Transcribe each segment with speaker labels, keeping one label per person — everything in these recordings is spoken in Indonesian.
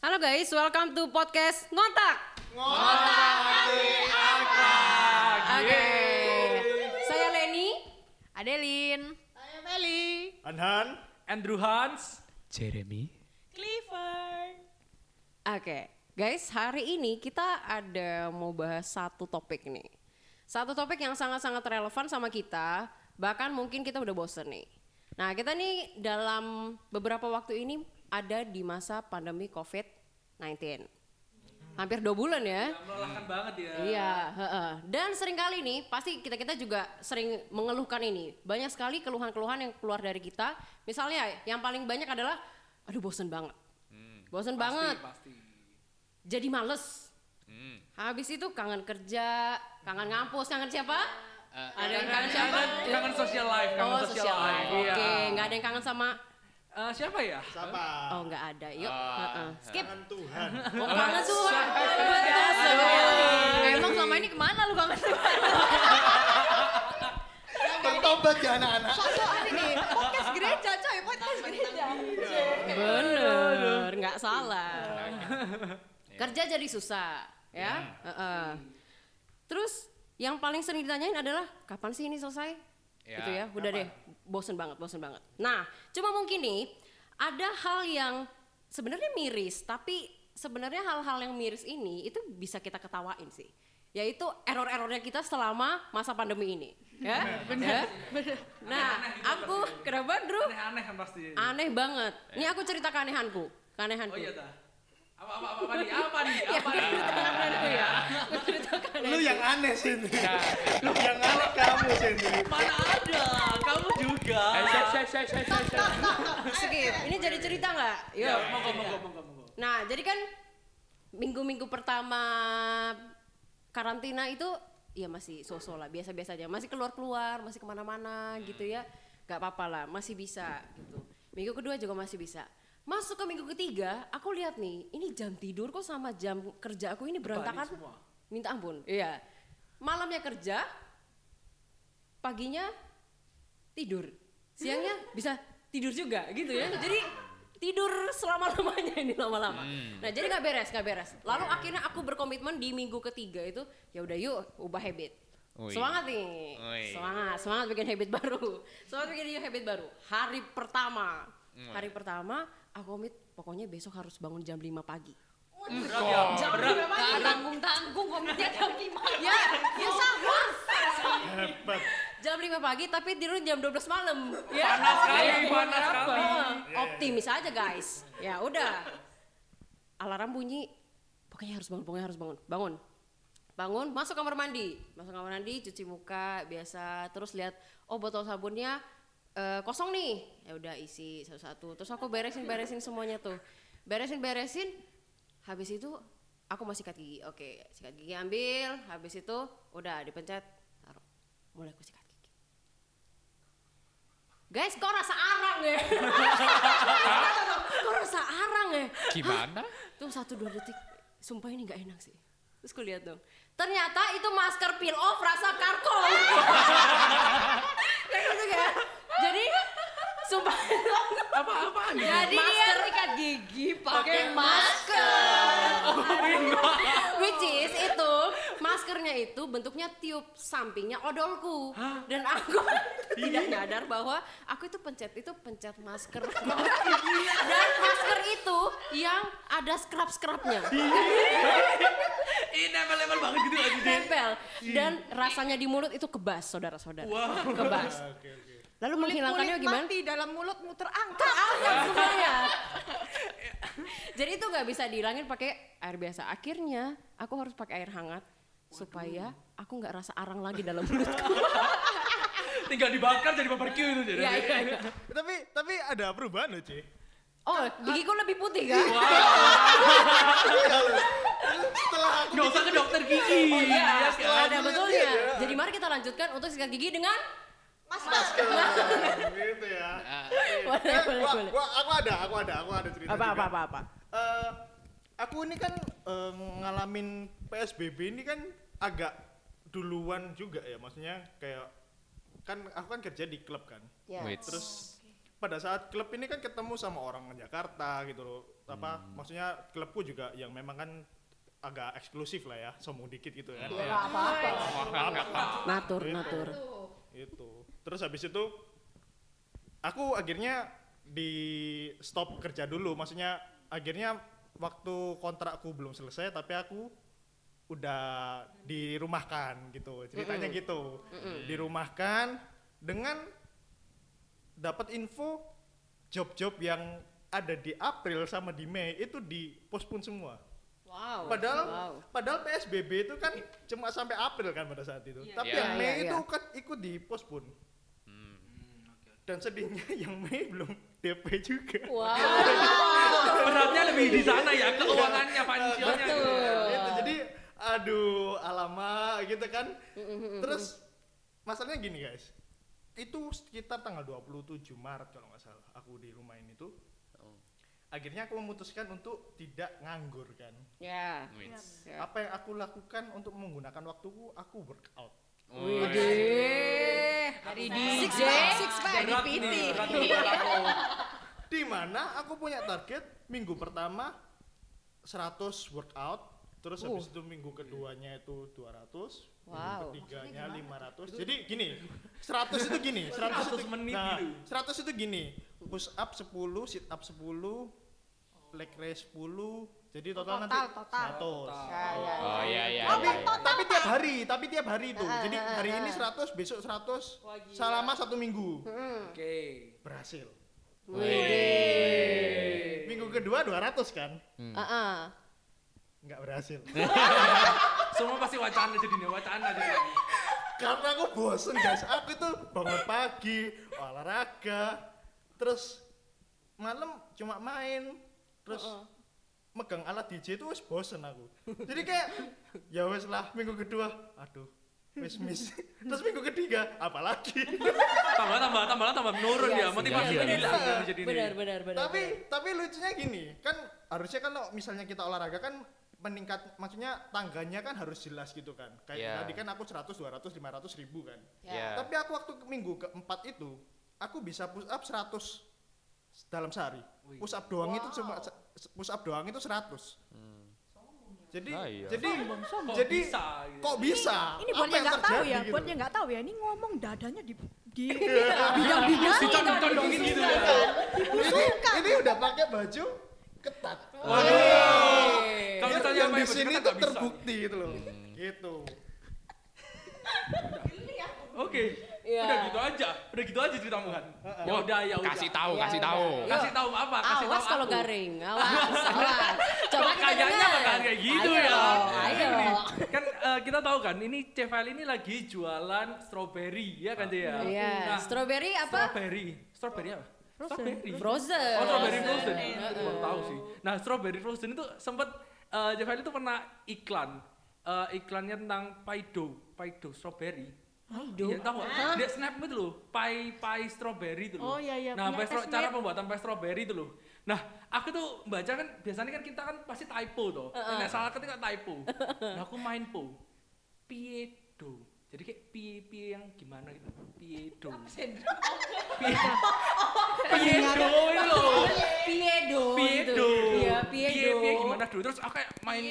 Speaker 1: Halo guys, welcome to podcast Ngontak. Ngontak Oke. Saya Leni.
Speaker 2: Adelin.
Speaker 3: Anhan,
Speaker 4: Andrew Hans.
Speaker 5: Jeremy.
Speaker 1: Oke. Guys, hari ini kita ada mau bahas satu topik nih. Satu topik yang sangat-sangat relevan sama kita, bahkan mungkin kita udah bosen nih. Nah, kita nih dalam beberapa waktu ini ada di masa pandemi COVID-19. Hampir dua bulan ya.
Speaker 4: Melelahkan banget ya.
Speaker 1: Iya, heeh. dan sering kali nih pasti kita kita juga sering mengeluhkan ini. Banyak sekali keluhan-keluhan yang keluar dari kita. Misalnya yang paling banyak adalah, aduh bosen banget, bosen banget,
Speaker 4: Hmm, Pasti.
Speaker 1: jadi males.
Speaker 4: Hmm.
Speaker 1: Habis itu kangen kerja, kangen ngampus, kangen siapa? ada yang kangen siapa?
Speaker 4: Eh, Kangen, kangen social life, kangen
Speaker 1: oh,
Speaker 4: social
Speaker 1: sosial.
Speaker 4: life.
Speaker 1: Oke,
Speaker 4: Iya.
Speaker 1: nggak ada yang kangen sama?
Speaker 4: Eh, siapa ya?
Speaker 3: siapa?
Speaker 1: Oh, nggak ada. Yuk,
Speaker 4: Ah.
Speaker 1: heeh. skip.
Speaker 3: Tangan Tuhan.
Speaker 1: Oh, kangen tuh. Betul
Speaker 2: Nah,
Speaker 1: sekali.
Speaker 2: emang selama ini kemana lu kangen Tuhan?
Speaker 3: Emang tobat ya anak-anak.
Speaker 2: Soal ini podcast gereja coy, podcast gereja.
Speaker 1: Bener, nggak salah. Kerja jadi susah, ya. Heeh. Terus yang paling sering ditanyain adalah kapan sih ini selesai?
Speaker 5: Ya,
Speaker 1: Gitu ya, udah deh, bosen banget, bosen banget. Nah, cuma mungkin nih ada hal yang sebenarnya miris, tapi sebenarnya hal-hal yang miris ini itu bisa kita ketawain sih yaitu error-errornya kita selama masa pandemi ini ya benar nah aku kenapa Drew
Speaker 4: Aneh-aneh kan pasti.
Speaker 1: aneh banget. Ini aku cerita keanehanku, keanehanku.
Speaker 4: Iya. Oh iya dah. Apa apa apa, apa nih? Apa nih?
Speaker 1: Ya, aku
Speaker 4: Apa nih?
Speaker 1: cerita keanehanku ya. Aku cerita
Speaker 3: Lu
Speaker 1: keanehanku.
Speaker 3: yang aneh sini. Lu yang aneh kamu sini.
Speaker 4: Mana ada? Kamu juga.
Speaker 5: Eh, saya, saya, saya, saya, saya, saya.
Speaker 1: Skip. Ini jadi cerita nggak?
Speaker 4: Ya,
Speaker 1: Yuk.
Speaker 4: monggo monggo monggo monggo.
Speaker 1: Nah, jadi kan minggu-minggu pertama karantina itu ya masih sosok lah, biasa-biasa aja. Masih keluar-keluar, masih kemana-mana
Speaker 4: Hmm.
Speaker 1: gitu ya. Gak apa-apa lah, masih bisa gitu. Minggu kedua juga masih bisa. Masuk ke minggu ketiga, aku lihat nih, ini jam tidur kok sama jam kerja aku ini berantakan.
Speaker 4: semua.
Speaker 1: Minta ampun. Iya. Malamnya kerja, paginya tidur siangnya bisa tidur juga gitu ya jadi tidur selama lamanya ini lama-lama
Speaker 5: Hmm.
Speaker 1: nah jadi nggak beres nggak beres lalu akhirnya aku berkomitmen di minggu ketiga itu ya udah yuk ubah habit
Speaker 5: Ui.
Speaker 1: semangat nih
Speaker 5: Ui.
Speaker 1: semangat semangat bikin habit baru semangat bikin habit baru hari pertama hari pertama aku komit pokoknya besok harus bangun jam 5 pagi jam 5 pagi tanggung tanggung komitnya jam 5 ya ya sama
Speaker 3: Hebat.
Speaker 1: jam 5 pagi tapi tidur jam 12 malam. Ya.
Speaker 4: Panas sekali, panas
Speaker 1: Apa?
Speaker 4: sekali. Iya,
Speaker 1: Optimis aja guys. Ya udah. Alarm bunyi. Pokoknya harus bangun, pokoknya harus bangun. Bangun. Bangun, masuk kamar mandi. Masuk kamar mandi, cuci muka biasa, terus lihat oh botol sabunnya eh, kosong nih. Ya udah isi satu-satu. Terus aku beresin-beresin semuanya tuh. Beresin-beresin habis itu aku mau sikat gigi. Oke, sikat gigi ambil, habis itu udah dipencet, taruh. Mulai aku sikat gigi. Guys, kok rasa arang ya? kok rasa arang ya?
Speaker 5: Gimana?
Speaker 1: Tuh satu dua detik, sumpah ini nggak enak sih. Terus ku lihat dong, ternyata itu masker peel off rasa karkol. Kayak gitu kan? Jadi, sumpah.
Speaker 4: Apa apa nih?
Speaker 1: Iya.
Speaker 2: Jadi dia
Speaker 1: Masker.
Speaker 2: sikat gigi pakai
Speaker 1: masker. Which is itu maskernya itu bentuknya tiup sampingnya odolku dan aku tidak nyadar bahwa aku itu pencet itu pencet masker dan masker itu yang ada scrub scrubnya
Speaker 4: Ini nempel-nempel banget gitu aja.
Speaker 1: nempel dan rasanya di mulut itu kebas saudara-saudara kebas lalu menghilangkannya gimana
Speaker 2: mati dalam mulut muter angka.
Speaker 1: terangkat semuanya. Jadi itu nggak bisa dihilangin pakai air biasa. Akhirnya aku harus pakai air hangat supaya aku nggak rasa arang lagi dalam mulutku.
Speaker 4: Tinggal dibakar jadi barbecue itu jadi.
Speaker 1: Iya, iya, iya.
Speaker 3: Tapi tapi ada perubahan loh, Ci.
Speaker 1: Oh, gigiku lebih putih kan?
Speaker 3: Iya loh. Setelah aku
Speaker 4: Nggak usah ke dokter gigi.
Speaker 1: Iya, ada
Speaker 3: aku
Speaker 1: betulnya.
Speaker 3: lihat ya.
Speaker 1: Jadi mari kita lanjutkan untuk sikat gigi dengan
Speaker 3: masker gitu ya.
Speaker 1: boleh,
Speaker 3: Eh,
Speaker 1: boleh,
Speaker 3: gua,
Speaker 1: boleh.
Speaker 3: gua- aku ada, aku ada, aku ada cerita.
Speaker 1: Apa,
Speaker 3: juga.
Speaker 1: apa, apa, apa?
Speaker 3: Eh, aku ini kan eh, ngalamin PSBB ini kan agak duluan juga ya, maksudnya kayak kan aku kan kerja di klub kan.
Speaker 1: Ya.
Speaker 5: Wait.
Speaker 3: Terus pada saat klub ini kan ketemu sama orang Jakarta gitu loh. Apa maksudnya klubku juga yang memang kan agak eksklusif lah ya, sombong dikit gitu kan.
Speaker 2: Ya
Speaker 3: Ya.
Speaker 2: nggak apa-apa.
Speaker 1: Natur, natur.
Speaker 2: Tuh.
Speaker 3: Itu. Gitu. Terus habis itu aku akhirnya di stop kerja dulu, maksudnya akhirnya waktu kontrakku belum selesai tapi aku udah dirumahkan gitu. Ceritanya gitu. Dirumahkan dengan dapat info job-job yang ada di April sama di Mei itu di postpone semua.
Speaker 1: Wow.
Speaker 3: Padahal
Speaker 1: wow.
Speaker 3: padahal PSBB itu kan cuma sampai April kan pada saat itu. Tapi
Speaker 1: Iya,
Speaker 3: yang
Speaker 1: iya,
Speaker 3: Mei
Speaker 1: iya.
Speaker 3: itu kan ikut di postpone. Dan sedihnya yang Mei belum DP juga.
Speaker 1: Oh.
Speaker 4: Beratnya lebih di sana ya, keuangannya,
Speaker 3: Iya,
Speaker 4: finansialnya. gitu.
Speaker 3: Gitu, Jadi aduh alamak gitu kan.
Speaker 1: Mm,
Speaker 3: Terus masalahnya gini guys. Itu sekitar tanggal 27 Maret kalau nggak salah aku di rumah ini tuh. Akhirnya aku memutuskan untuk tidak nganggur kan.
Speaker 1: Ya.
Speaker 5: Wins.
Speaker 1: Ya.
Speaker 3: Apa yang aku lakukan untuk menggunakan waktuku, aku workout.
Speaker 1: Widih.
Speaker 2: Dari
Speaker 1: Iya, Six
Speaker 2: DJ,
Speaker 1: pack,
Speaker 2: six pack. dari
Speaker 4: Berat
Speaker 2: PT.
Speaker 4: nih, berat nih, berat nih.
Speaker 3: di mana aku punya target minggu pertama 100 workout terus habis itu minggu keduanya itu 200 minggu
Speaker 1: Wow.
Speaker 3: ketiganya 500 jadi gini 100 itu gini 100 itu
Speaker 4: 100 menit
Speaker 3: nah,
Speaker 4: gitu.
Speaker 3: 100 itu gini push up 10 sit up 10 leg raise 10 jadi total, nanti
Speaker 2: Total,
Speaker 3: 100
Speaker 2: total. Ya, ya, ya.
Speaker 5: Oh iya iya.
Speaker 3: tapi
Speaker 5: iya, iya.
Speaker 3: tapi tiap hari tapi tiap hari itu
Speaker 1: Ah,
Speaker 3: jadi
Speaker 1: ah, ah,
Speaker 3: hari ini
Speaker 1: ah.
Speaker 3: 100 besok 100
Speaker 4: Wah, gila.
Speaker 3: selama satu minggu
Speaker 4: Oke.
Speaker 3: berhasil
Speaker 5: Wih.
Speaker 3: minggu kedua 200 kan
Speaker 1: Heeh.
Speaker 3: nggak berhasil
Speaker 4: Semua pasti wacana jadi nih, wacana jadi.
Speaker 3: karena aku bosen guys aku tuh bangun pagi olahraga terus malam cuma main terus megang alat DJ itu wes bosen aku jadi kayak ya wes lah minggu kedua aduh wes miss terus minggu ketiga apalagi
Speaker 4: Tambah, tambah, tambah, tambah menurun
Speaker 1: Iya sih,
Speaker 4: ya. Motivasinya
Speaker 1: iya.
Speaker 4: hilang kalau jadi ini.
Speaker 1: Benar, benar, benar.
Speaker 3: tapi tapi lucunya gini kan harusnya kan kalau misalnya kita olahraga kan meningkat maksudnya tangganya kan harus jelas gitu kan kayak
Speaker 5: Iya.
Speaker 3: tadi kan aku 100 200 500 ribu kan
Speaker 1: Iya.
Speaker 4: Iya.
Speaker 5: Ya.
Speaker 3: Tapi aku waktu ke- minggu keempat itu, aku bisa push up 100 dalam sehari. Push up doang itu cuma se- se- push up doang itu 100.
Speaker 4: Hmm.
Speaker 3: Jadi
Speaker 5: Nah, iya.
Speaker 3: jadi
Speaker 4: Kok
Speaker 3: jadi
Speaker 4: bisa gitu?
Speaker 3: kok bisa?
Speaker 2: Ini
Speaker 3: Apa
Speaker 2: buat yang
Speaker 3: yang
Speaker 2: nggak tahu
Speaker 3: terjadi
Speaker 2: ya,
Speaker 3: gitu?
Speaker 2: buat yang nggak tahu ya, ini ngomong dadanya di di
Speaker 6: Iya.
Speaker 1: Iya,
Speaker 4: Dicondong-condongin gitu ya.
Speaker 3: ini, ini udah pakai baju ketat.
Speaker 1: Iya,
Speaker 4: Waduh. Kalau
Speaker 3: Yang-
Speaker 4: misalnya
Speaker 3: yang
Speaker 4: apa ya,
Speaker 3: di
Speaker 4: yang
Speaker 3: sini tuh
Speaker 4: berkata nggak bisa. Hmm.
Speaker 3: terbukti gitu loh. Gitu.
Speaker 4: Oke.
Speaker 1: Iya.
Speaker 4: Udah gitu aja. Udah gitu aja ceritamu kan. Ya udah, ya udah.
Speaker 5: Kasih tahu,
Speaker 1: Ya,
Speaker 5: kasih
Speaker 1: udah.
Speaker 5: tahu.
Speaker 1: Yuk.
Speaker 4: Kasih tahu apa? Kasih tahu
Speaker 1: Awas kalau
Speaker 4: aku.
Speaker 1: garing, awas, awas. Coba kita
Speaker 4: kayaknya
Speaker 1: dengar.
Speaker 4: bakalan kayak gitu
Speaker 1: ayo,
Speaker 4: ya.
Speaker 1: Ayo.
Speaker 4: Ini, kan eh, kita tahu kan ini Ceval ini lagi jualan strawberry ya kan dia.
Speaker 1: Iya,
Speaker 4: Nah,
Speaker 1: strawberry apa?
Speaker 4: strawberry. Strawberry apa? Strawberry.
Speaker 1: Frozen.
Speaker 4: Oh, strawberry frozen. Aku baru tahu sih. Nah, strawberry frozen itu sempat eh Ceval itu pernah iklan. Eh, iklannya tentang paido, paido strawberry.
Speaker 1: Aduh.
Speaker 4: Iya tahu. Dia snap itu loh, pie pie strawberry itu loh.
Speaker 2: Oh, iya, iya,
Speaker 4: Nah,
Speaker 2: punya
Speaker 4: pie stro-
Speaker 2: Esmed.
Speaker 4: cara pembuatan pie strawberry itu loh. Nah, aku tuh baca kan biasanya kan kita kan pasti typo toh. Nah, salah ketika typo. nah, aku main po. Piedo. Jadi kayak pie pie yang gimana gitu. Piedo. Pie- Piedo itu loh.
Speaker 1: Piedo. Oh, itu.
Speaker 4: Piedo.
Speaker 1: Iya,
Speaker 4: Pie
Speaker 1: piedo.
Speaker 4: pie gimana dulu. Terus aku kayak main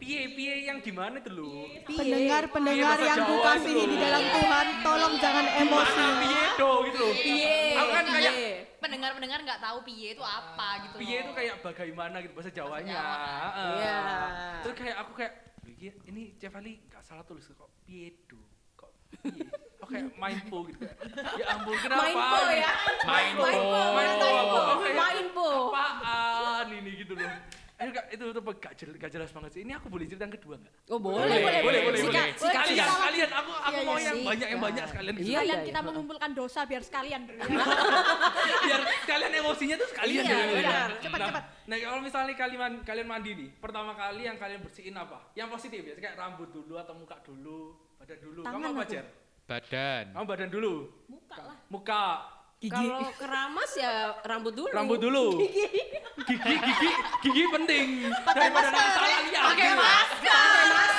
Speaker 4: pie pie yang gimana itu loh.
Speaker 2: pendengar-pendengar
Speaker 4: Iya, bahasa
Speaker 2: yang
Speaker 4: Jawa
Speaker 2: dikasihi
Speaker 4: itu.
Speaker 2: di dalam Tuhan, tolong jangan emosi.
Speaker 4: Mana piedo gitu loh.
Speaker 1: Pie.
Speaker 4: Aku kan kayak
Speaker 1: pie.
Speaker 6: pendengar-pendengar nggak tahu piye itu apa gitu.
Speaker 4: piye itu kayak bagaimana gitu bahasa Jawanya. Heeh.
Speaker 1: Iya.
Speaker 4: Terus kayak aku kayak "Iki- ini Cevali gak salah tulis kok piedo kok piye. Aku kayak mindful gitu. Ya ampun kenapa?
Speaker 1: Mindful
Speaker 4: ini?
Speaker 1: ya?
Speaker 4: Mindful.
Speaker 1: Mindful,
Speaker 4: Mindful.
Speaker 1: mindful,
Speaker 4: Aku kayak,
Speaker 1: mindful.
Speaker 4: Apaan ini gitu loh. Aduh, gak- itu tuh gak jelas, gak jelas banget sih. Ini aku boleh cerita yang kedua gak?
Speaker 1: Oh, boleh, boleh,
Speaker 4: boleh,
Speaker 1: Sikat,
Speaker 4: boleh. boleh.
Speaker 1: sikat,
Speaker 4: Sekalian,
Speaker 1: sikat.
Speaker 4: sekalian. Aku, aku
Speaker 1: Iya,
Speaker 4: mau
Speaker 1: iya,
Speaker 4: yang
Speaker 1: sikat.
Speaker 4: banyak, yang banyak sekalian. gitu.
Speaker 1: Iya,
Speaker 2: Kalian
Speaker 1: iya.
Speaker 2: kita mengumpulkan dosa biar sekalian dulu
Speaker 4: Iya.
Speaker 2: ya.
Speaker 4: biar kalian emosinya tuh sekalian
Speaker 1: Iya,
Speaker 4: gitu.
Speaker 1: benar.
Speaker 2: Cepat,
Speaker 4: nah,
Speaker 2: cepat.
Speaker 4: Nah, kalau misalnya kalian kalian mandi nih, pertama kali yang kalian bersihin apa? Yang positif ya, kayak rambut dulu atau muka dulu, badan dulu. Kamu apa, Jer?
Speaker 5: Badan.
Speaker 4: Kamu badan dulu. Muka lah. Muka.
Speaker 1: Kalau keramas ya rambut dulu.
Speaker 4: Rambut dulu. Gigi. Gigi, gigi, gigi penting. Daripada nanti salah lihat. Pakai masker.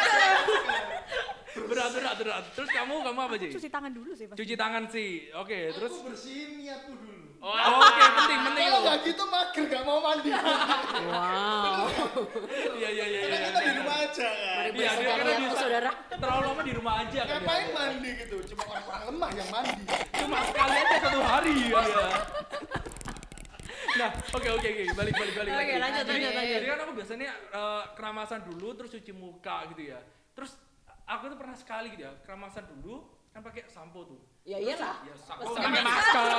Speaker 4: Berat, berat, berat. Terus kamu, kamu apa, Ji?
Speaker 2: Cuci tangan dulu sih pasti.
Speaker 4: Cuci tangan sih. Oke, terus
Speaker 3: Aku bersihin niatku dulu.
Speaker 4: Oh, Oke, penting, penting.
Speaker 7: Kalau nggak gitu mager gak mau mandi.
Speaker 1: Wow.
Speaker 4: Iya, iya, iya.
Speaker 7: Karena
Speaker 4: iya.
Speaker 7: kita di rumah aja kan.
Speaker 1: Mari
Speaker 4: Iya, dia karena
Speaker 1: bersaudariku,
Speaker 4: bisa
Speaker 1: saudara.
Speaker 4: terlalu lama di rumah aja kan.
Speaker 7: Ngapain mandi gitu? Cuma orang-orang lemah yang mandi.
Speaker 4: Cuma sekali aja satu hari kan ya. Nah, oke oke oke, balik balik balik.
Speaker 1: Oke,
Speaker 4: lagi.
Speaker 1: lanjut,
Speaker 4: Jadi-
Speaker 1: lanjut, lanjut.
Speaker 4: Jadi kan aku biasanya eh, keramasan dulu terus cuci muka gitu ya. Terus aku tuh pernah sekali gitu ya, keramasan dulu kan pakai sampo tuh.
Speaker 1: Ya iyalah.
Speaker 4: Ya, sampo
Speaker 1: Pasti.
Speaker 4: pakai masker.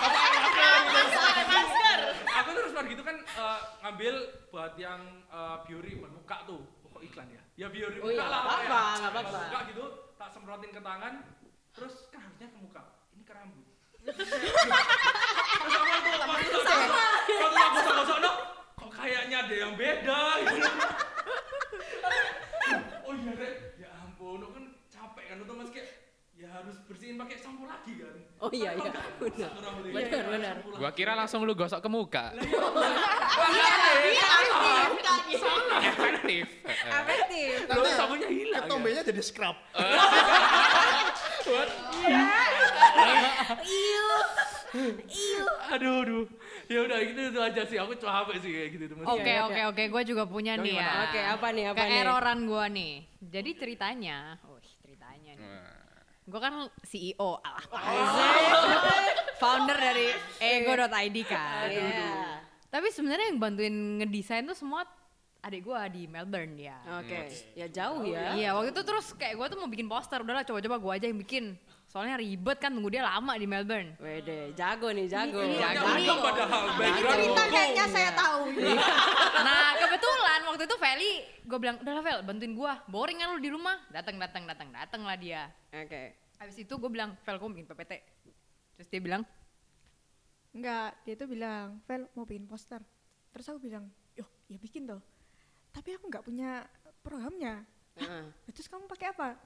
Speaker 4: Pakai masker. Aku terus waktu gitu kan eh, ngambil buat yang eh, biori buat muka tuh. Pokok iklan ya. Ya biori
Speaker 1: Oh
Speaker 4: muka
Speaker 1: iya,
Speaker 4: lah.
Speaker 1: nggak
Speaker 4: pokoknya.
Speaker 1: apa-apa, nggak apa-apa.
Speaker 4: Buat Muka gitu tak semprotin ke tangan. Terus kan harusnya ke muka. Ini ke rambut. Terus aku tuh waktu itu aku waktu itu aku gosok-gosok no, kok kayaknya ada yang beda gitu. Oh iya Rek, ya ampun, no kan capek kan otomatis kayak ya harus bersihin pakai sampo lagi kan.
Speaker 1: Oh iya, iya. Benar. Benar, benar.
Speaker 5: Gua kira langsung lu gosok ke muka.
Speaker 4: Iya,
Speaker 5: Efektif. Heeh.
Speaker 1: Efektif.
Speaker 4: Lalu sabunnya hilang.
Speaker 1: iya.
Speaker 4: kan?
Speaker 7: Ketombenya jadi scrub.
Speaker 4: Aduh, aduh. Ya udah gitu itu aja sih. Aku capek sih kayak gitu teman.
Speaker 1: Oke,
Speaker 6: Oke
Speaker 1: oke.
Speaker 6: oke oke, gue juga punya
Speaker 4: Kamu
Speaker 6: nih ya.
Speaker 4: gimana?
Speaker 1: Oke, apa nih, apa nih?
Speaker 6: Keeroran gue nih. Jadi ceritanya, wih ceritanya nih. Gue kan CEO, alah, founder dari ego.id kan.
Speaker 1: Iya.
Speaker 6: Tapi sebenarnya yang bantuin ngedesain tuh semua adik gue di Melbourne ya.
Speaker 1: Oke. Ya jauh ya.
Speaker 6: Iya waktu itu terus kayak gue tuh mau bikin poster, udahlah coba-coba gue aja yang bikin. Soalnya ribet kan tunggu dia lama di Melbourne.
Speaker 1: Wede, jago nih, jago.
Speaker 6: Ini- ini-
Speaker 1: Jago.
Speaker 6: ini-
Speaker 4: Untung padahal background
Speaker 2: cerita
Speaker 4: logo.
Speaker 2: kayaknya saya tahu.
Speaker 6: Nah kebetulan waktu itu Feli, gue bilang udahlah Vel bantuin gue, boring kan lu di rumah. Datang datang datang datang lah dia.
Speaker 1: Oke.
Speaker 6: Habis itu gue bilang Vel gue bikin PPT. Terus dia bilang
Speaker 2: Enggak, dia tuh bilang, Vel mau bikin poster. Terus aku bilang, yo ya bikin toh. Tapi aku nggak punya programnya.
Speaker 1: Heeh.
Speaker 2: Nah, Terus kamu pakai apa?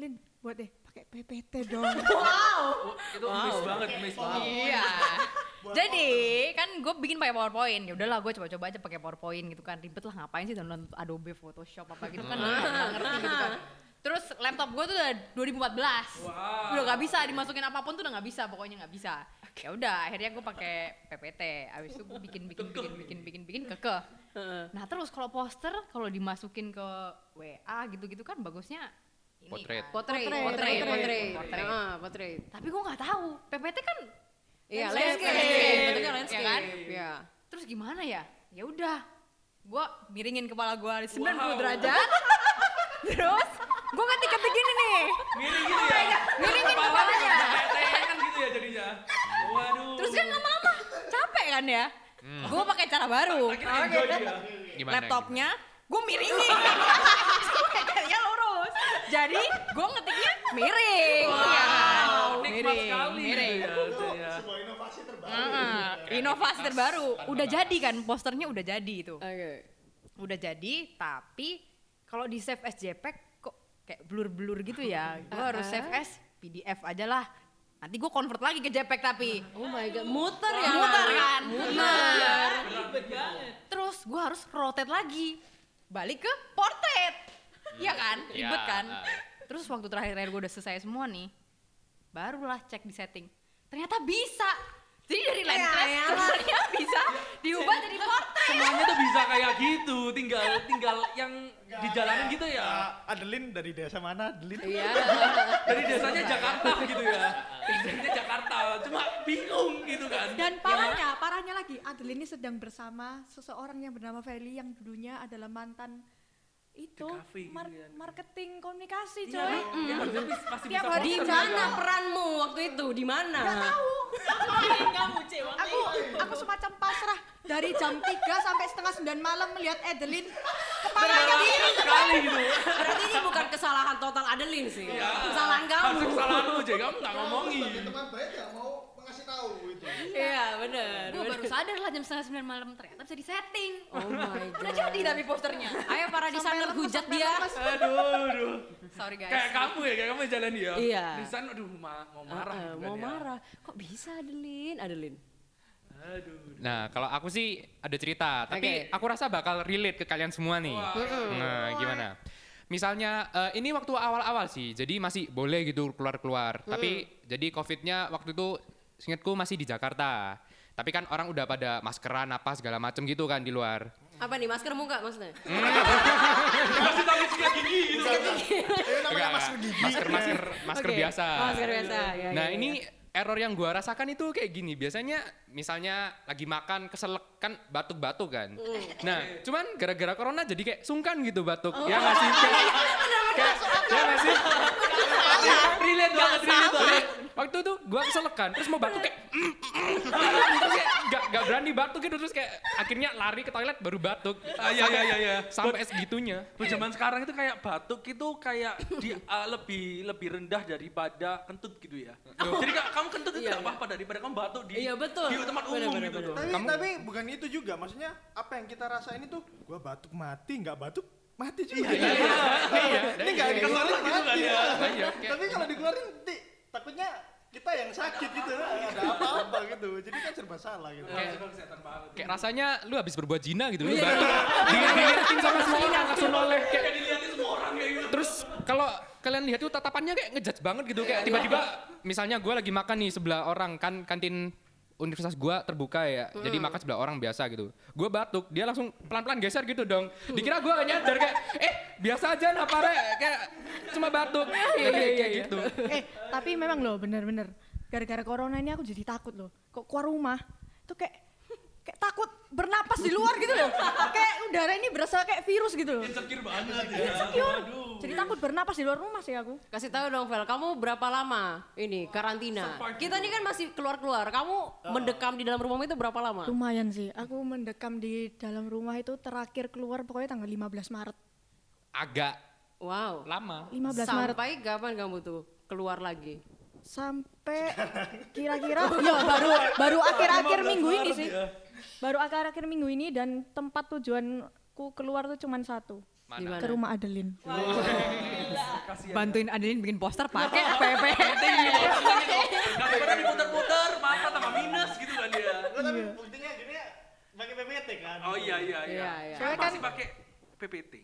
Speaker 2: Lin, buat deh pakai PPT dong.
Speaker 4: Oh, itu miss banget, miss banget.
Speaker 6: iya. Jadi kan gue bikin pakai PowerPoint. Ya udahlah gue coba-coba aja pakai PowerPoint gitu kan. Ribet lah ngapain sih download Adobe Photoshop apa gitu kan. nggak ngerti gitu kan. Terus laptop gue tuh udah 2014.
Speaker 4: Wow.
Speaker 6: Udah nggak bisa dimasukin apapun tuh udah nggak bisa, pokoknya nggak bisa. Ya udah, akhirnya gue pakai PPT. Abis itu gue bikin bikin bikin bikin bikin bikin kekeh. Nah terus kalau poster kalau dimasukin ke WA gitu-gitu kan bagusnya ini
Speaker 5: Potret.
Speaker 6: kan. Potret,
Speaker 1: Portrait,
Speaker 6: potret,
Speaker 1: portrait, portrait.
Speaker 6: potret.
Speaker 1: Heeh, portrait.
Speaker 6: Tapi gue nggak tahu. PPT kan
Speaker 1: Iya,
Speaker 6: Landscape.
Speaker 1: landscape.
Speaker 6: Landscape.
Speaker 1: Bentuknya
Speaker 6: Iya
Speaker 1: landscape.
Speaker 6: kan?
Speaker 1: Iya.
Speaker 6: terus gimana ya? Ya udah, gue miringin kepala gue 90
Speaker 4: Wow.
Speaker 6: derajat. terus gue ketik-ketik gini nih.
Speaker 4: Miring gitu ya.
Speaker 6: Oh Miringin
Speaker 4: Kepala
Speaker 6: kepalanya.
Speaker 4: kan gitu ya jadinya. Waduh.
Speaker 6: Terus kan lama-lama capek kan ya? Gue pakai cara baru.
Speaker 4: Akhirnya enjoy
Speaker 6: Iya.
Speaker 4: dia.
Speaker 5: Gimana,
Speaker 6: laptopnya gue miringin sampai jadinya lurus jadi gue ngetiknya miring ya kan?
Speaker 4: Nikmat sekali gitu
Speaker 6: miring
Speaker 4: ya. jadinya.
Speaker 7: Sebuah inovasi terbaru.
Speaker 6: Heeh, inovasi terbaru udah jadi kan posternya udah jadi itu
Speaker 1: Oke.
Speaker 6: udah jadi tapi kalau di save as JPEG kok kayak blur-blur gitu ya gue harus save as PDF aja lah nanti gue convert lagi ke JPEG tapi
Speaker 1: Oh my god, muter ya.
Speaker 6: muter kan muter
Speaker 4: Ribet banget.
Speaker 6: terus gue harus rotate lagi balik ke portrait Iya kan ribet
Speaker 5: Ya,
Speaker 6: kan
Speaker 5: ah.
Speaker 6: terus waktu terakhir-terakhir gue udah selesai semua nih barulah cek di setting ternyata bisa jadi dari landscape
Speaker 1: ya.
Speaker 6: sebenarnya bisa diubah jadi portrait
Speaker 4: Semuanya tuh bisa kayak gitu, tinggal tinggal yang dijalanin gitu ya.
Speaker 3: Ah, Adeline dari desa mana? Adeline?
Speaker 1: Iya.
Speaker 4: Dari desanya Jakarta gitu ya. Desanya Jakarta, cuma bingung gitu kan.
Speaker 2: Dan parahnya, parahnya lagi, Adeline ini sedang bersama seseorang yang bernama Feli yang dulunya adalah mantan
Speaker 4: Di
Speaker 2: itu
Speaker 4: kafe gitu
Speaker 2: mar-
Speaker 4: ya.
Speaker 2: marketing komunikasi
Speaker 4: Iya,
Speaker 2: coy.
Speaker 4: ya, harusnya bis- pasti
Speaker 2: Tiap
Speaker 4: bisa
Speaker 2: hari
Speaker 1: Di
Speaker 4: poster
Speaker 1: mana
Speaker 4: juga.
Speaker 1: peranmu waktu itu? Di mana?
Speaker 2: Gak tahu. aku Oh, aku semacam pasrah dari jam 3 sampai setengah 9 malam melihat Adeline kepalanya
Speaker 4: Berdarah
Speaker 2: miring.
Speaker 4: sekali gitu.
Speaker 1: Berarti ini bukan kesalahan total Adeline sih.
Speaker 4: Iya.
Speaker 1: Kesalahan
Speaker 4: Harusnya
Speaker 1: kamu.
Speaker 4: kesalahan lu, jadi kamu nggak ngomongin.
Speaker 7: Sebagai teman baik gak mau mengasih tahu
Speaker 3: gitu.
Speaker 7: itu.
Speaker 1: Iya, benar.
Speaker 6: gue baru sadar lah jam setengah sembilan malam ternyata bisa disetting
Speaker 1: Oh my
Speaker 6: udah
Speaker 1: god.
Speaker 6: jadi tapi posternya
Speaker 1: Ayo para desainer
Speaker 2: lemes,
Speaker 1: hujat
Speaker 2: sampai
Speaker 1: dia.
Speaker 2: lemes.
Speaker 4: Aduh, aduh.
Speaker 6: sorry
Speaker 4: Kayak
Speaker 6: guys
Speaker 4: kamu ya, kayak kamu yang jalan ya.
Speaker 1: Iya.
Speaker 4: Lisan, aduh, ma- mau marah.
Speaker 1: Eh, eh,
Speaker 4: gitu kan
Speaker 1: mau
Speaker 4: ya.
Speaker 1: marah. Kok bisa Adeline? Adeline.
Speaker 4: Aduh.
Speaker 5: Nah, kalau aku sih ada cerita,
Speaker 1: Oke.
Speaker 5: tapi aku rasa bakal relate ke kalian semua nih. Nah, gimana? Misalnya eh, ini Mm. waktu awal-awal sih, jadi masih boleh gitu keluar-keluar. Tapi jadi COVID-nya waktu itu seingatku masih di Jakarta. Tapi kan orang udah pada maskeran apa segala macem gitu kan di luar.
Speaker 1: Apa nih masker muka maksudnya?
Speaker 4: Masih tapi sikat gigi gitu.
Speaker 7: Ini namanya
Speaker 5: Enggak, enggak.
Speaker 7: masker gigi. Iya.
Speaker 5: Masker masker masker
Speaker 1: Oke,
Speaker 5: biasa.
Speaker 1: Masker biasa. ya,
Speaker 5: nah
Speaker 1: ya,
Speaker 5: ini
Speaker 1: ya.
Speaker 5: error yang gua rasakan itu kayak gini. Biasanya misalnya lagi makan keselek kan batuk-batuk kan.
Speaker 1: Hmm.
Speaker 5: Nah, cuman gara-gara corona jadi kayak sungkan gitu batuk.
Speaker 1: Oh.
Speaker 5: Ya nggak sih? Kayak, kayak, ya nggak sih?
Speaker 4: ya. Relate banget, relate banget.
Speaker 5: Waktu itu gua keselek kan, terus mau batuk kayak "Mm, mm, mm." terus kayak gak, gak berani batuk gitu terus kayak akhirnya lari ke toilet baru batuk.
Speaker 4: Ah, iya, iya, iya, iya.
Speaker 5: Sampai segitunya.
Speaker 4: Bu zaman sekarang itu kayak batuk itu kayak di, ah, lebih lebih rendah daripada kentut gitu ya. Jadi ka- kamu kentut itu
Speaker 1: Iya,
Speaker 4: nggak
Speaker 1: iya.
Speaker 4: apa-apa daripada kamu batuk di
Speaker 1: Iya, betul.
Speaker 4: di tempat umum
Speaker 1: Benar, benar,
Speaker 4: gitu.
Speaker 1: betul.
Speaker 3: Tapi,
Speaker 5: Kamu-
Speaker 3: tapi bukan itu juga, maksudnya apa yang kita rasain itu gua batuk mati, nggak batuk mati juga. Ini nggak dikeluarin mati.
Speaker 5: Iya, kayak-
Speaker 3: Tapi kalau dikeluarin nanti takutnya kita yang sakit gitu, ada apa-apa gitu. Jadi kan serba salah gitu.
Speaker 4: Kayak kesehatan banget.
Speaker 5: Kayak rasanya lu habis berbuat zina gitu lu batuk. Di- Diliatin sama semua orang langsung noleh kayak
Speaker 4: Kayak dilihatin semua orang kayak gitu.
Speaker 5: Terus kalau kalian lihat tuh tatapannya kayak ngejudge banget gitu kayak tiba-tiba misalnya gue lagi makan nih sebelah orang kan kantin universitas gue terbuka ya jadi makan sebelah orang biasa gitu gue batuk dia langsung pelan-pelan geser gitu dong dikira gue gak nyadar kayak eh biasa aja napare kayak cuma batuk kayak, kayak gitu
Speaker 2: eh tapi memang loh bener-bener gara-gara corona ini aku jadi takut loh kok keluar rumah tuh kayak kayak takut bernapas di luar gitu loh kayak udara ini berasa kayak virus gitu loh
Speaker 4: Insecure banget ya.
Speaker 2: insecure
Speaker 4: Aduh.
Speaker 2: jadi takut bernapas di luar rumah sih aku
Speaker 1: Kasih tahu dong Vel, kamu berapa lama ini karantina?
Speaker 4: survive
Speaker 1: Kita ini kan masih keluar-keluar. Kamu mendekam di dalam rumahmu itu berapa lama?
Speaker 2: lumayan sih aku mendekam di dalam rumah itu terakhir keluar pokoknya tanggal 15 Maret
Speaker 5: agak
Speaker 1: Wow.
Speaker 5: lama
Speaker 2: 15 Maret
Speaker 1: Sampai kapan kamu tuh keluar lagi?
Speaker 2: sampai kira-kira ya baru baru akhir-akhir minggu ini sih baru akhir-akhir minggu ini dan tempat tujuanku keluar tuh cuman satu
Speaker 1: Di
Speaker 5: mana
Speaker 1: mana?
Speaker 2: ke rumah Adeline
Speaker 6: Bantuin Adeline bikin poster pakai ya, PPT.
Speaker 4: Daripada diputer-puter, mata tambah minus gitu kan dia.
Speaker 3: Nggak, tapi
Speaker 7: Iya.
Speaker 3: buktinya akhirnya pakai PPT kan.
Speaker 4: Oh iya iya iya.
Speaker 1: Iya, iya.
Speaker 4: Saya masih pakai PPT.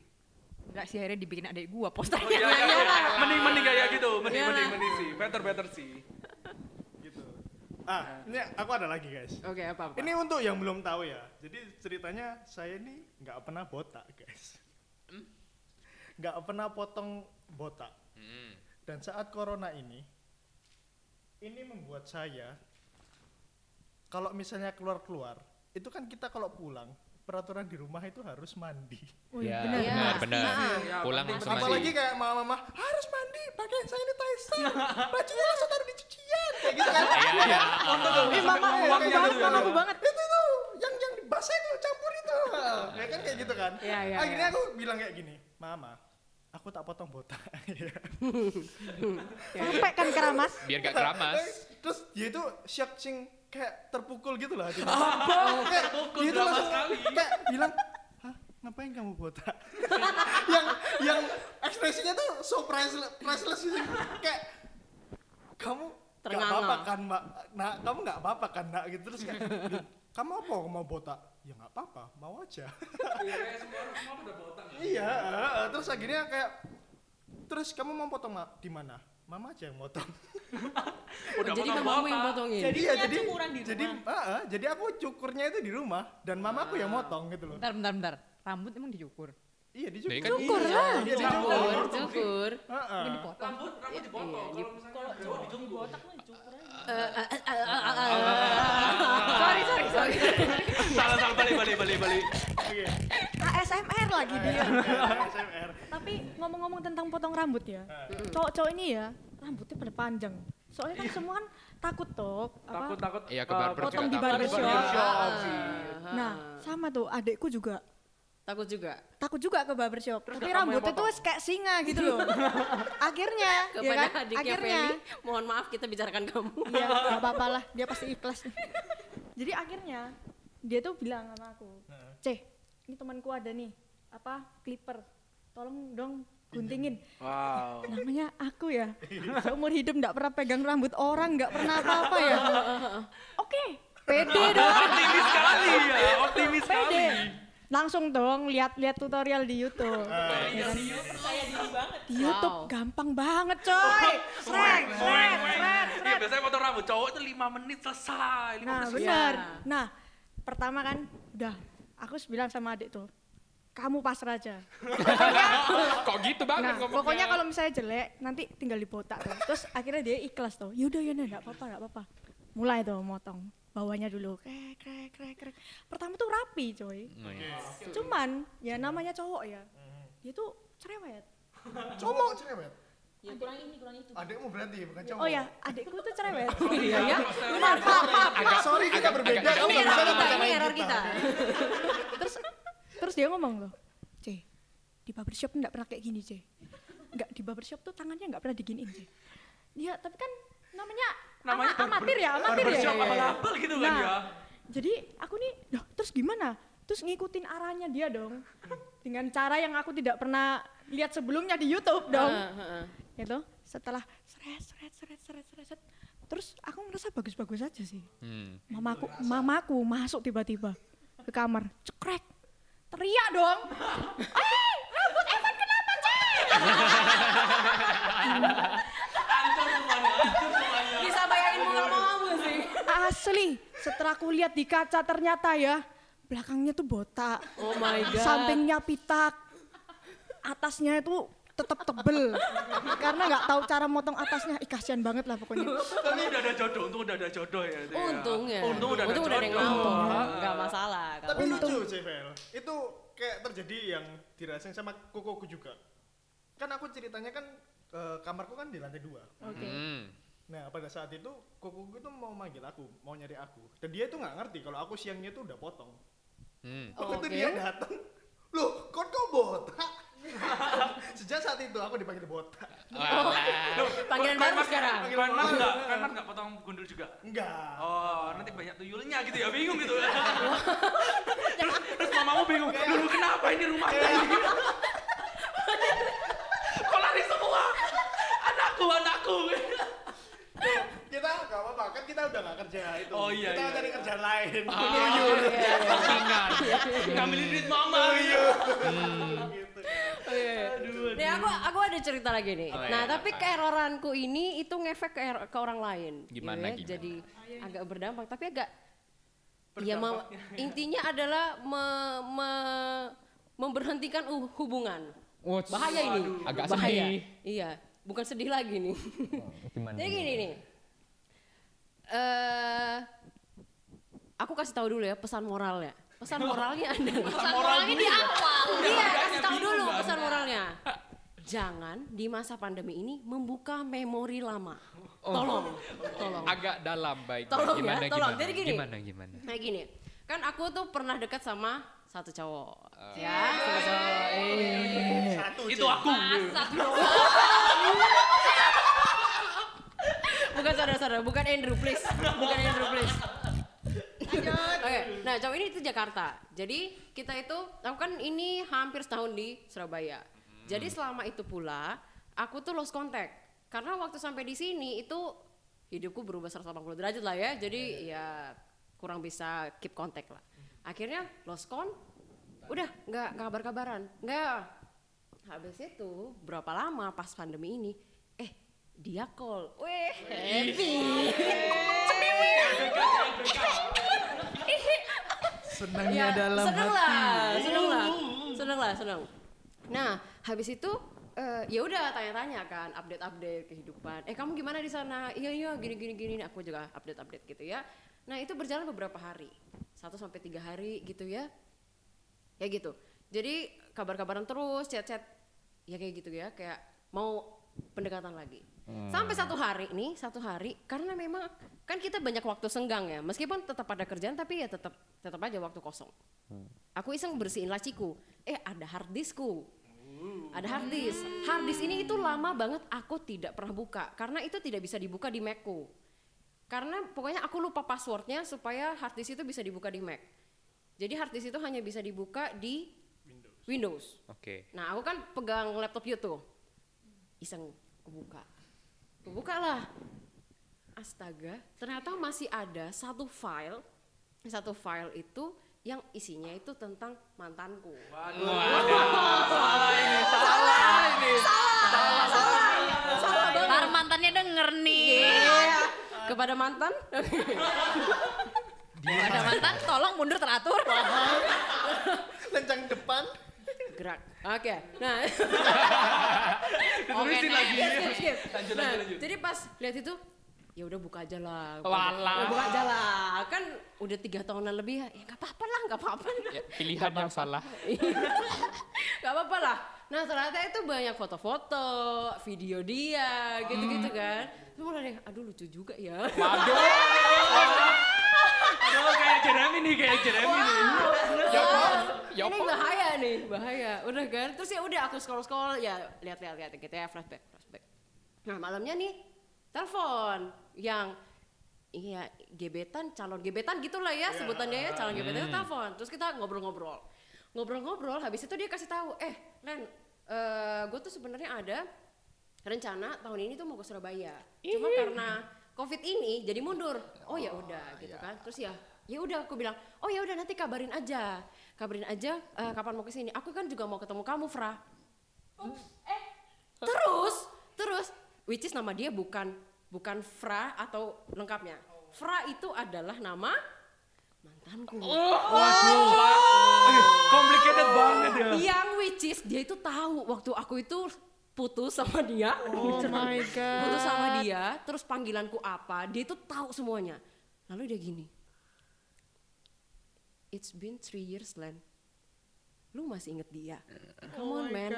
Speaker 6: Enggak sih akhirnya dibikin adik gua
Speaker 4: Oh
Speaker 6: posternya.
Speaker 4: iya iya. iya. Mending mending kayak gitu, mending
Speaker 1: Iyalah.
Speaker 4: mending mending sih. Better better sih.
Speaker 3: Gitu. Ah, ini aku ada lagi guys.
Speaker 1: Oke, apa apa?
Speaker 3: Ini untuk yang belum tahu ya. Jadi ceritanya saya ini nggak pernah botak, guys.
Speaker 1: Hmm?
Speaker 3: Nggak pernah potong botak.
Speaker 1: Hmm.
Speaker 3: Dan saat corona ini, ini membuat saya kalau misalnya keluar-keluar, itu kan kita kalau pulang peraturan di rumah itu harus mandi.
Speaker 2: Wih,
Speaker 5: Ya,
Speaker 2: bener.
Speaker 5: benar benar
Speaker 4: Iya,
Speaker 5: pulang
Speaker 4: penting,
Speaker 5: langsung
Speaker 3: Apalagi
Speaker 5: mandi
Speaker 3: kayak mama-mama harus mandi, pakai sanitizer, bajunya langsung taruh di cucian, kayak gitu kan?
Speaker 5: Iya,
Speaker 2: Eh, mama,
Speaker 4: Sampai
Speaker 2: mamaku
Speaker 4: uangnya
Speaker 2: banget,
Speaker 4: gitu ya.
Speaker 2: mamaku banget.
Speaker 3: itu tuh yang yang basah itu campur itu ya kan kayak gitu kan
Speaker 1: Iya, iya,
Speaker 3: akhirnya aku bilang kayak gini mama aku tak potong botak Iya.
Speaker 2: Capek kan keramas.
Speaker 5: biar gak keramas
Speaker 3: terus dia itu shock sing kayak terpukul gitu lah hatinya apa
Speaker 4: Terpukul,
Speaker 3: dia itu
Speaker 4: drama
Speaker 3: langsung
Speaker 4: sekali.
Speaker 3: kayak bilang Hah, ngapain kamu botak yang yang ekspresinya tuh so priceless, priceless gitu. kayak kamu nggak
Speaker 1: Ternganga.
Speaker 3: apa-apa kan mbak nah kamu nggak apa-apa kan nak gitu terus kayak "Duh, kamu apa mau botak ya nggak apa-apa mau aja
Speaker 4: Kayak semua orang semua udah botak.
Speaker 3: Iya, heeh. terus akhirnya kayak terus kamu mau potong ma- di mana? Mama aja yang motong.
Speaker 4: Udah
Speaker 1: Jadi
Speaker 4: potong
Speaker 1: mamamu yang
Speaker 4: botak.
Speaker 1: potongin.
Speaker 3: jadi ya jadi jadi heeh, jadi aku cukurnya itu di rumah dan mamaku
Speaker 1: Ah.
Speaker 3: yang motong gitu loh.
Speaker 6: Bentar bentar bentar. Rambut emang dicukur.
Speaker 3: Iya dicukur.
Speaker 5: Iya kan? Cukur
Speaker 3: Iya,
Speaker 2: lah.
Speaker 3: Iya dicukur.
Speaker 1: ah. Cukur, cukur.
Speaker 3: Heeh.
Speaker 6: Ini dipotong.
Speaker 4: Rambut rambut dipotong. Kalau misalnya Jawa dijunggut.
Speaker 7: Ah.
Speaker 6: Sorry sorry sorry.
Speaker 4: Salah salah balik balik balik balik.
Speaker 3: Oke.
Speaker 2: ASMR lagi
Speaker 1: Iya.
Speaker 2: dia.
Speaker 3: SMR.
Speaker 2: Tapi ngomong-ngomong tentang potong rambut ya.
Speaker 1: Hmm.
Speaker 2: Cowok-cowok ini ya, rambutnya pada panjang. Soalnya
Speaker 1: Iya.
Speaker 2: kan semua kan takut toh. apa-
Speaker 1: ah.
Speaker 4: Takut Iya. takut.
Speaker 5: Iya, ke
Speaker 4: eh,
Speaker 5: barber
Speaker 2: potong
Speaker 5: juga
Speaker 2: di
Speaker 5: takut.
Speaker 2: barbershop.
Speaker 1: Iya,
Speaker 4: Barbershop sih.
Speaker 2: Nah, sama tuh adekku juga
Speaker 1: Takut juga.
Speaker 2: takut juga ke barbershop. Tapi
Speaker 4: gak kamu yang
Speaker 2: rambutnya tuh
Speaker 4: potong?
Speaker 2: kayak singa gitu loh. Akhirnya, ya
Speaker 1: Kepada
Speaker 2: kan?
Speaker 1: adiknya
Speaker 2: Akhirnya.
Speaker 1: Feli, mohon maaf kita bicarakan kamu.
Speaker 2: Iya, gak apa-apa lah, dia pasti ikhlas. Jadi akhirnya dia tuh bilang sama aku, "Ceh, ini temanku ada nih, apa clipper. Tolong dong guntingin."
Speaker 4: Wow.
Speaker 2: Namanya aku ya. Seumur hidup nggak pernah pegang rambut orang, nggak pernah apa-apa ya. Oke, pede dong.
Speaker 4: Optimis sekali ya, optimis sekali.
Speaker 2: Pede. Langsung dong lihat-lihat tutorial di YouTube. Ya kan? Di YouTube gampang banget, coy. Sret, sret, sret, sret.
Speaker 4: Iya, biasanya potong rambut cowok itu 5 menit selesai, 15
Speaker 2: Nah
Speaker 4: menit.
Speaker 2: benar.
Speaker 6: Ya.
Speaker 2: Nah pertama kan udah aku bilang sama adik tuh kamu pasrah aja.
Speaker 5: Kok gitu banget
Speaker 2: Nah
Speaker 5: ngomongnya?
Speaker 2: pokoknya kalau misalnya jelek nanti tinggal dibotak tuh. Terus akhirnya dia ikhlas tuh. "Ya Yaudah yaudah nggak apa-apa nggak apa-apa. Mulai tuh motong bawahnya dulu krek krek krek krek. Pertama tuh rapi coy.
Speaker 5: Nah, iya.
Speaker 2: Cuman ya namanya cowok ya. Dia tuh cerewet.
Speaker 7: Cowok cerewet.
Speaker 1: Ya kurang ini, kurang itu.
Speaker 7: Adikmu berarti bukan cowok.
Speaker 2: Oh ya, adikku tuh cerewet.
Speaker 1: Iya ya.
Speaker 2: Benar, Pak, Pak,
Speaker 7: Agak sorry kita berbeda.
Speaker 5: agak-
Speaker 7: kamu
Speaker 1: Ini
Speaker 7: nggak
Speaker 1: error
Speaker 7: bisa
Speaker 1: kita, ini
Speaker 7: bercanda
Speaker 1: error kita.
Speaker 2: terus terus dia ngomong loh C di barbershop nggak pernah kayak gini C nggak di barbershop tuh tangannya nggak pernah diginiin C dia tapi kan namanya,
Speaker 4: Namanya
Speaker 2: ama- amatir ya amatir ya
Speaker 4: Barbershop
Speaker 2: Iya, iya, iya.
Speaker 4: abal-abal gitu kan
Speaker 2: Nah,
Speaker 4: ya.
Speaker 2: jadi aku nih loh terus gimana terus ngikutin arahnya dia dong dengan cara yang aku tidak pernah lihat sebelumnya di YouTube dong
Speaker 1: Heeh, heeh.
Speaker 2: gitu setelah seret seret seret seret seret seret. terus aku ngerasa bagus-bagus aja sih
Speaker 5: Hmm.
Speaker 2: mamaku mamaku masuk tiba-tiba ke kamar cekrek teriak dong eh rambut Evan kenapa cek
Speaker 4: Hancur semuanya, hancur semuanya.
Speaker 1: Bisa bayangin muka mamamu sih.
Speaker 2: asli setelah aku lihat di kaca ternyata ya belakangnya tuh botak
Speaker 1: Oh my god.
Speaker 2: sampingnya pitak atasnya itu tetap tebel karena nggak tahu cara motong atasnya Ih, kasihan banget lah pokoknya
Speaker 4: Tapi udah ada jodoh, untung udah ada jodoh ya. itu ya.
Speaker 1: Untung ya.
Speaker 4: Untung udah ada jodoh.
Speaker 1: ada yang ngomong. Enggak masalah.
Speaker 7: Tapi
Speaker 1: Kalau
Speaker 7: lucu CVL. Itu kayak terjadi yang dirasain sama kokoku juga. Kan aku ceritanya kan eh, kamarku kan di lantai dua.
Speaker 2: oke
Speaker 5: Hmm.
Speaker 7: Nah pada saat itu kokoku itu mau manggil aku, mau nyari aku. Dan dia itu nggak ngerti kalau aku siangnya itu udah potong.
Speaker 5: Hmm.
Speaker 7: Waktu itu
Speaker 1: Oke.
Speaker 7: dia datang, loh kok kau botak? Sejak saat itu aku dipanggil botak.
Speaker 1: Oh.
Speaker 4: Loh,
Speaker 1: Panggilan baru sekarang.
Speaker 4: Kan mas enggak, kan mas enggak potong gundul juga.
Speaker 7: Enggak.
Speaker 4: Oh, nanti banyak tuyulnya gitu ya, bingung gitu. terus, terus mamamu bingung, dulu kenapa ini rumahnya ini? Kok lari semua? Anakku, anakku.
Speaker 7: Kita nggak apa-apa kan kita udah nggak kerja itu.
Speaker 4: Oh, iya,
Speaker 7: Kita
Speaker 4: iya,
Speaker 7: cari
Speaker 4: iya.
Speaker 7: kerjaan lain.
Speaker 5: Sampingan.
Speaker 4: Ngambilin duit mama. Iya.
Speaker 7: gitu.
Speaker 1: Nih aku aku ada cerita lagi nih.
Speaker 4: ya?
Speaker 5: Oh, iya,
Speaker 1: nah,
Speaker 5: iya,
Speaker 1: tapi
Speaker 5: apa?
Speaker 1: keeroranku ini itu ngefek ke, er- ke orang lain. gitu
Speaker 5: Gimana,
Speaker 1: ya.
Speaker 5: gimana?
Speaker 1: Jadi agak berdampak, tapi agak ya mau intinya adalah me- me- memberhentikan uh, hubungan.
Speaker 5: What's-
Speaker 1: Bahaya ini.
Speaker 5: Agak
Speaker 1: Bahaya.
Speaker 5: sedih. Oh,
Speaker 1: Iya, bukan sedih lagi nih. Jadi gini nih. Eh aku kasih tahu dulu ya pesan moralnya. Pesan moralnya adalah
Speaker 6: Pesan moralnya di awal.
Speaker 1: Iya,
Speaker 4: makanya
Speaker 1: kasih tahu
Speaker 4: bingung
Speaker 1: dulu
Speaker 4: kan.
Speaker 1: pesan moralnya. Jangan di masa pandemi ini membuka memori lama.
Speaker 4: Oh.
Speaker 1: Tolong, tolong.
Speaker 5: Agak dalam baik.
Speaker 1: Tolong ya,
Speaker 5: gimana,
Speaker 1: tolong.
Speaker 5: Gimana,
Speaker 1: Jadi gini.
Speaker 5: Gimana gitu? gimana?
Speaker 1: Kayak gini, kan aku tuh pernah dekat sama satu cowok. Ya, satu cowok. Eh.
Speaker 7: Satu
Speaker 4: Eh. Itu aku.
Speaker 1: Bukan saudara-saudara, bukan Andrew please. Bukan Andrew please. Oke, nah cowok ini itu Jakarta. Jadi kita itu, aku kan ini hampir setahun di Surabaya. Jadi selama itu pula, aku tuh lost contact. Karena waktu sampai di sini itu hidupku berubah 180 derajat lah ya. Jadi ya kurang bisa keep contact lah. Akhirnya lost con, udah nggak kabar-kabaran, nggak Habis itu berapa lama pas pandemi ini? Eh dia call, weh happy.
Speaker 7: Senangnya
Speaker 1: seneng Ya, lah, seneng lah, seneng lah, seneng. Nah habis itu eh, ya udah tanya-tanya kan, update-update kehidupan. Eh kamu gimana di sana? Iya iya gini-gini gini. Aku juga update-update gitu ya. Nah itu berjalan beberapa hari, satu sampai tiga hari gitu ya. ya gitu jadi kabar-kabaran terus chat-chat ya kayak gitu ya kayak mau pendekatan lagi sampai satu hari nih satu hari karena memang kan kita banyak waktu senggang ya meskipun tetap ada kerjaan tapi ya tetap tetap aja waktu kosong aku iseng bersihin laciku eh ada hard diskku ada hard disk hard disk ini itu lama banget aku tidak pernah buka karena itu tidak bisa dibuka di Macku karena pokoknya aku lupa passwordnya supaya hard disk itu bisa dibuka di Mac jadi hard disk itu hanya bisa dibuka di Windows.
Speaker 5: Oke.
Speaker 1: Nah, aku kan pegang laptop you tuh. Iseng kebuka. Kebuka lah. Astaga, ternyata masih ada satu file. Satu file itu yang isinya itu tentang mantanku.
Speaker 6: Ntar mantannya denger nih.
Speaker 1: Iya. kepada mantan
Speaker 6: Ada mantan, tolong mundur teratur.
Speaker 7: lencang depan
Speaker 1: gerak. Oke. Nah,
Speaker 6: Oke,
Speaker 5: Oh,
Speaker 4: Diterusin
Speaker 6: next.
Speaker 4: lagi.
Speaker 1: skip, skip.
Speaker 4: Lanjut,
Speaker 1: Nah,
Speaker 4: lanjut, lanjut.
Speaker 1: Jadi pas lihat itu ya udah buka aja lah.
Speaker 5: Walah.
Speaker 1: Ya Buka aja lah. Kan udah tiga tahunan lebih ya. Ya nggak apa-apa lah, nggak apa-apa.
Speaker 5: Ya, pilihan yang salah.
Speaker 1: Gak apa-apa lah. Nah ternyata itu banyak foto-foto, video dia, gitu-gitu
Speaker 4: Hmm.
Speaker 1: kan. Terus mulai deh, aduh lucu juga ya.
Speaker 5: Waduh.
Speaker 4: Aduh kayak Jeremy nih, kayak Jeremy nih.
Speaker 5: Ya apa? Ya
Speaker 1: Ini
Speaker 5: apa?
Speaker 1: bahaya nih, bahaya. Udah kan, terus ya udah aku scroll-scroll, ya lihat-lihat lihat gitu ya, flashback, flashback. Nah malamnya nih, telepon yang Iya, gebetan, calon gebetan gitulah ya
Speaker 5: Iya.
Speaker 1: sebutannya ya, calon gebetan itu
Speaker 5: Hmm.
Speaker 1: telepon. Terus kita ngobrol-ngobrol. Ngobrol-ngobrol, habis itu dia kasih tahu, "Eh, Len, eh gue tuh sebenarnya ada rencana tahun ini tuh mau ke Surabaya. Cuma karena Covid ini jadi mundur. Oh ya udah gitu kan. Terus ya, ya udah aku bilang, "Oh ya udah nanti kabarin aja. Kabarin aja eh, kapan mau ke sini. Aku kan juga mau ketemu kamu, Fra." Oh, Hmm. eh. terus terus which is nama dia bukan bukan Fra atau lengkapnya Fra itu adalah nama mantanku
Speaker 4: Waduh. Oke, complicated banget ya.
Speaker 1: yang which is dia itu tahu waktu aku itu putus sama dia oh my god putus sama dia terus panggilanku apa dia itu tahu semuanya lalu dia gini it's been three years Len lu masih inget dia
Speaker 8: Uh.
Speaker 1: come
Speaker 8: Oh
Speaker 1: on man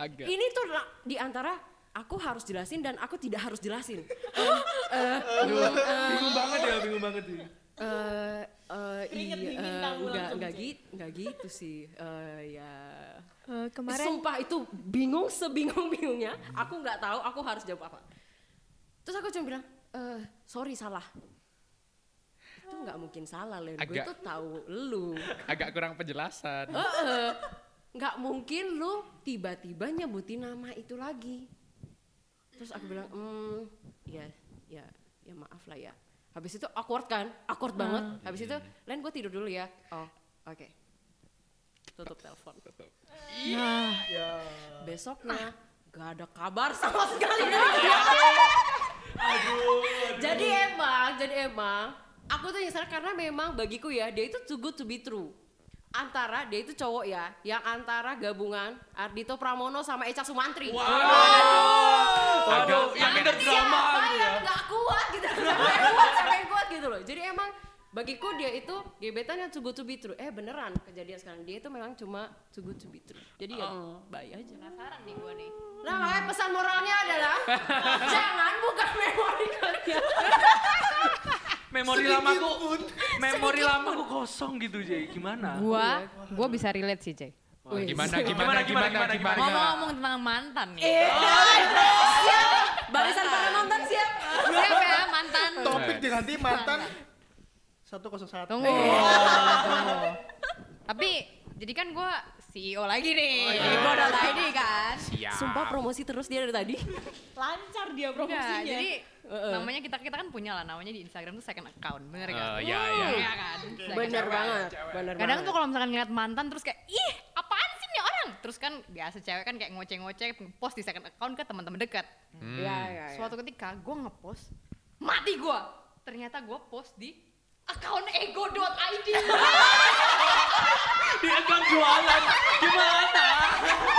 Speaker 5: Agak.
Speaker 1: ini tuh la- di antara aku harus jelasin dan aku tidak harus jelasin. Eh, eh,
Speaker 4: Aduh, bingung banget ya, bingung banget sih.
Speaker 1: eh, eh,
Speaker 8: Keringet
Speaker 1: iya,
Speaker 8: dingin
Speaker 1: eh,
Speaker 8: tahu
Speaker 1: nggak
Speaker 8: langsung,
Speaker 1: nggak
Speaker 8: Cek.
Speaker 1: gitu nggak gitu sih Eh, ya
Speaker 2: Eh, kemarin
Speaker 1: sumpah itu bingung sebingung bingungnya aku nggak tahu aku harus jawab apa terus aku cuma bilang eh sorry salah itu nggak mungkin salah Len gue
Speaker 5: Agak.
Speaker 1: tuh tahu lu
Speaker 5: Agak kurang penjelasan.
Speaker 1: Heeh. nggak mungkin lu tiba-tiba nyebutin nama itu lagi terus aku bilang hmm ya ya ya maaf lah ya habis itu awkward kan awkward banget habis itu Len gue tidur dulu ya oh oke tutup telepon besoknya gak ada kabar sama sekali Iya. dari dia. jadi emang jadi emang aku tuh nyesel karena memang bagiku ya dia itu too good to be true antara dia itu cowok ya yang antara gabungan Ardito Pramono sama Eca Sumantri
Speaker 5: Agak.
Speaker 4: Yang beda drama gitu ya.
Speaker 1: yang nggak kuat gitu siapa yang kuat siapa yang kuat gitu loh jadi emang bagiku dia itu gebetan yang too good to be true eh beneran kejadian sekarang dia itu memang cuma too good to be true jadi ya bye aja
Speaker 6: Penasaran nih gue nih.
Speaker 1: Nah, makanya pesan moralnya adalah jangan buka memori kalian.
Speaker 4: Memori lamaku, memori lamaku kosong gitu, Jay. Gimana?
Speaker 6: Gua, gua bisa relate sih, Jay.
Speaker 5: Wah,
Speaker 4: Gimana,
Speaker 5: Gimana gimana
Speaker 4: gimana,
Speaker 5: gimana
Speaker 4: gimana,
Speaker 5: gimana.
Speaker 6: Ngomong-ngomong tentang mantan nih.
Speaker 1: Barisan
Speaker 6: Iya.
Speaker 1: para nonton siap.
Speaker 6: Siapa ya mantan?
Speaker 4: Eh.
Speaker 7: topik diganti mantan 101
Speaker 6: Tunggu. Tunggu. Tapi jadi kan gue CEO lagi nih. Gue udah lagi kan.
Speaker 5: Siap.
Speaker 1: Sumpah promosi terus dia dari tadi.
Speaker 8: Lancar dia
Speaker 6: Enggak,
Speaker 8: promosinya.
Speaker 6: Iya, jadi namanya kita kita kan punya lah namanya di Instagram tuh second account, bener gak?
Speaker 5: Eh, ya, ya.
Speaker 1: Hmm.
Speaker 6: Iya kan? Second
Speaker 1: Bener
Speaker 6: account.
Speaker 1: banget. Bener
Speaker 6: Kadang
Speaker 1: banget.
Speaker 6: tuh kalau misalkan ngeliat mantan terus kayak ih apaan sih nih orang? Terus kan biasa cewek kan kayak ngoceh-ngoceh post di second account ke teman-teman dekat.
Speaker 1: ya, ya, ya.
Speaker 6: Suatu ketika gue ngepost, mati gue. Ternyata gue post di account ego.id.
Speaker 4: Di account jualan. Gimana?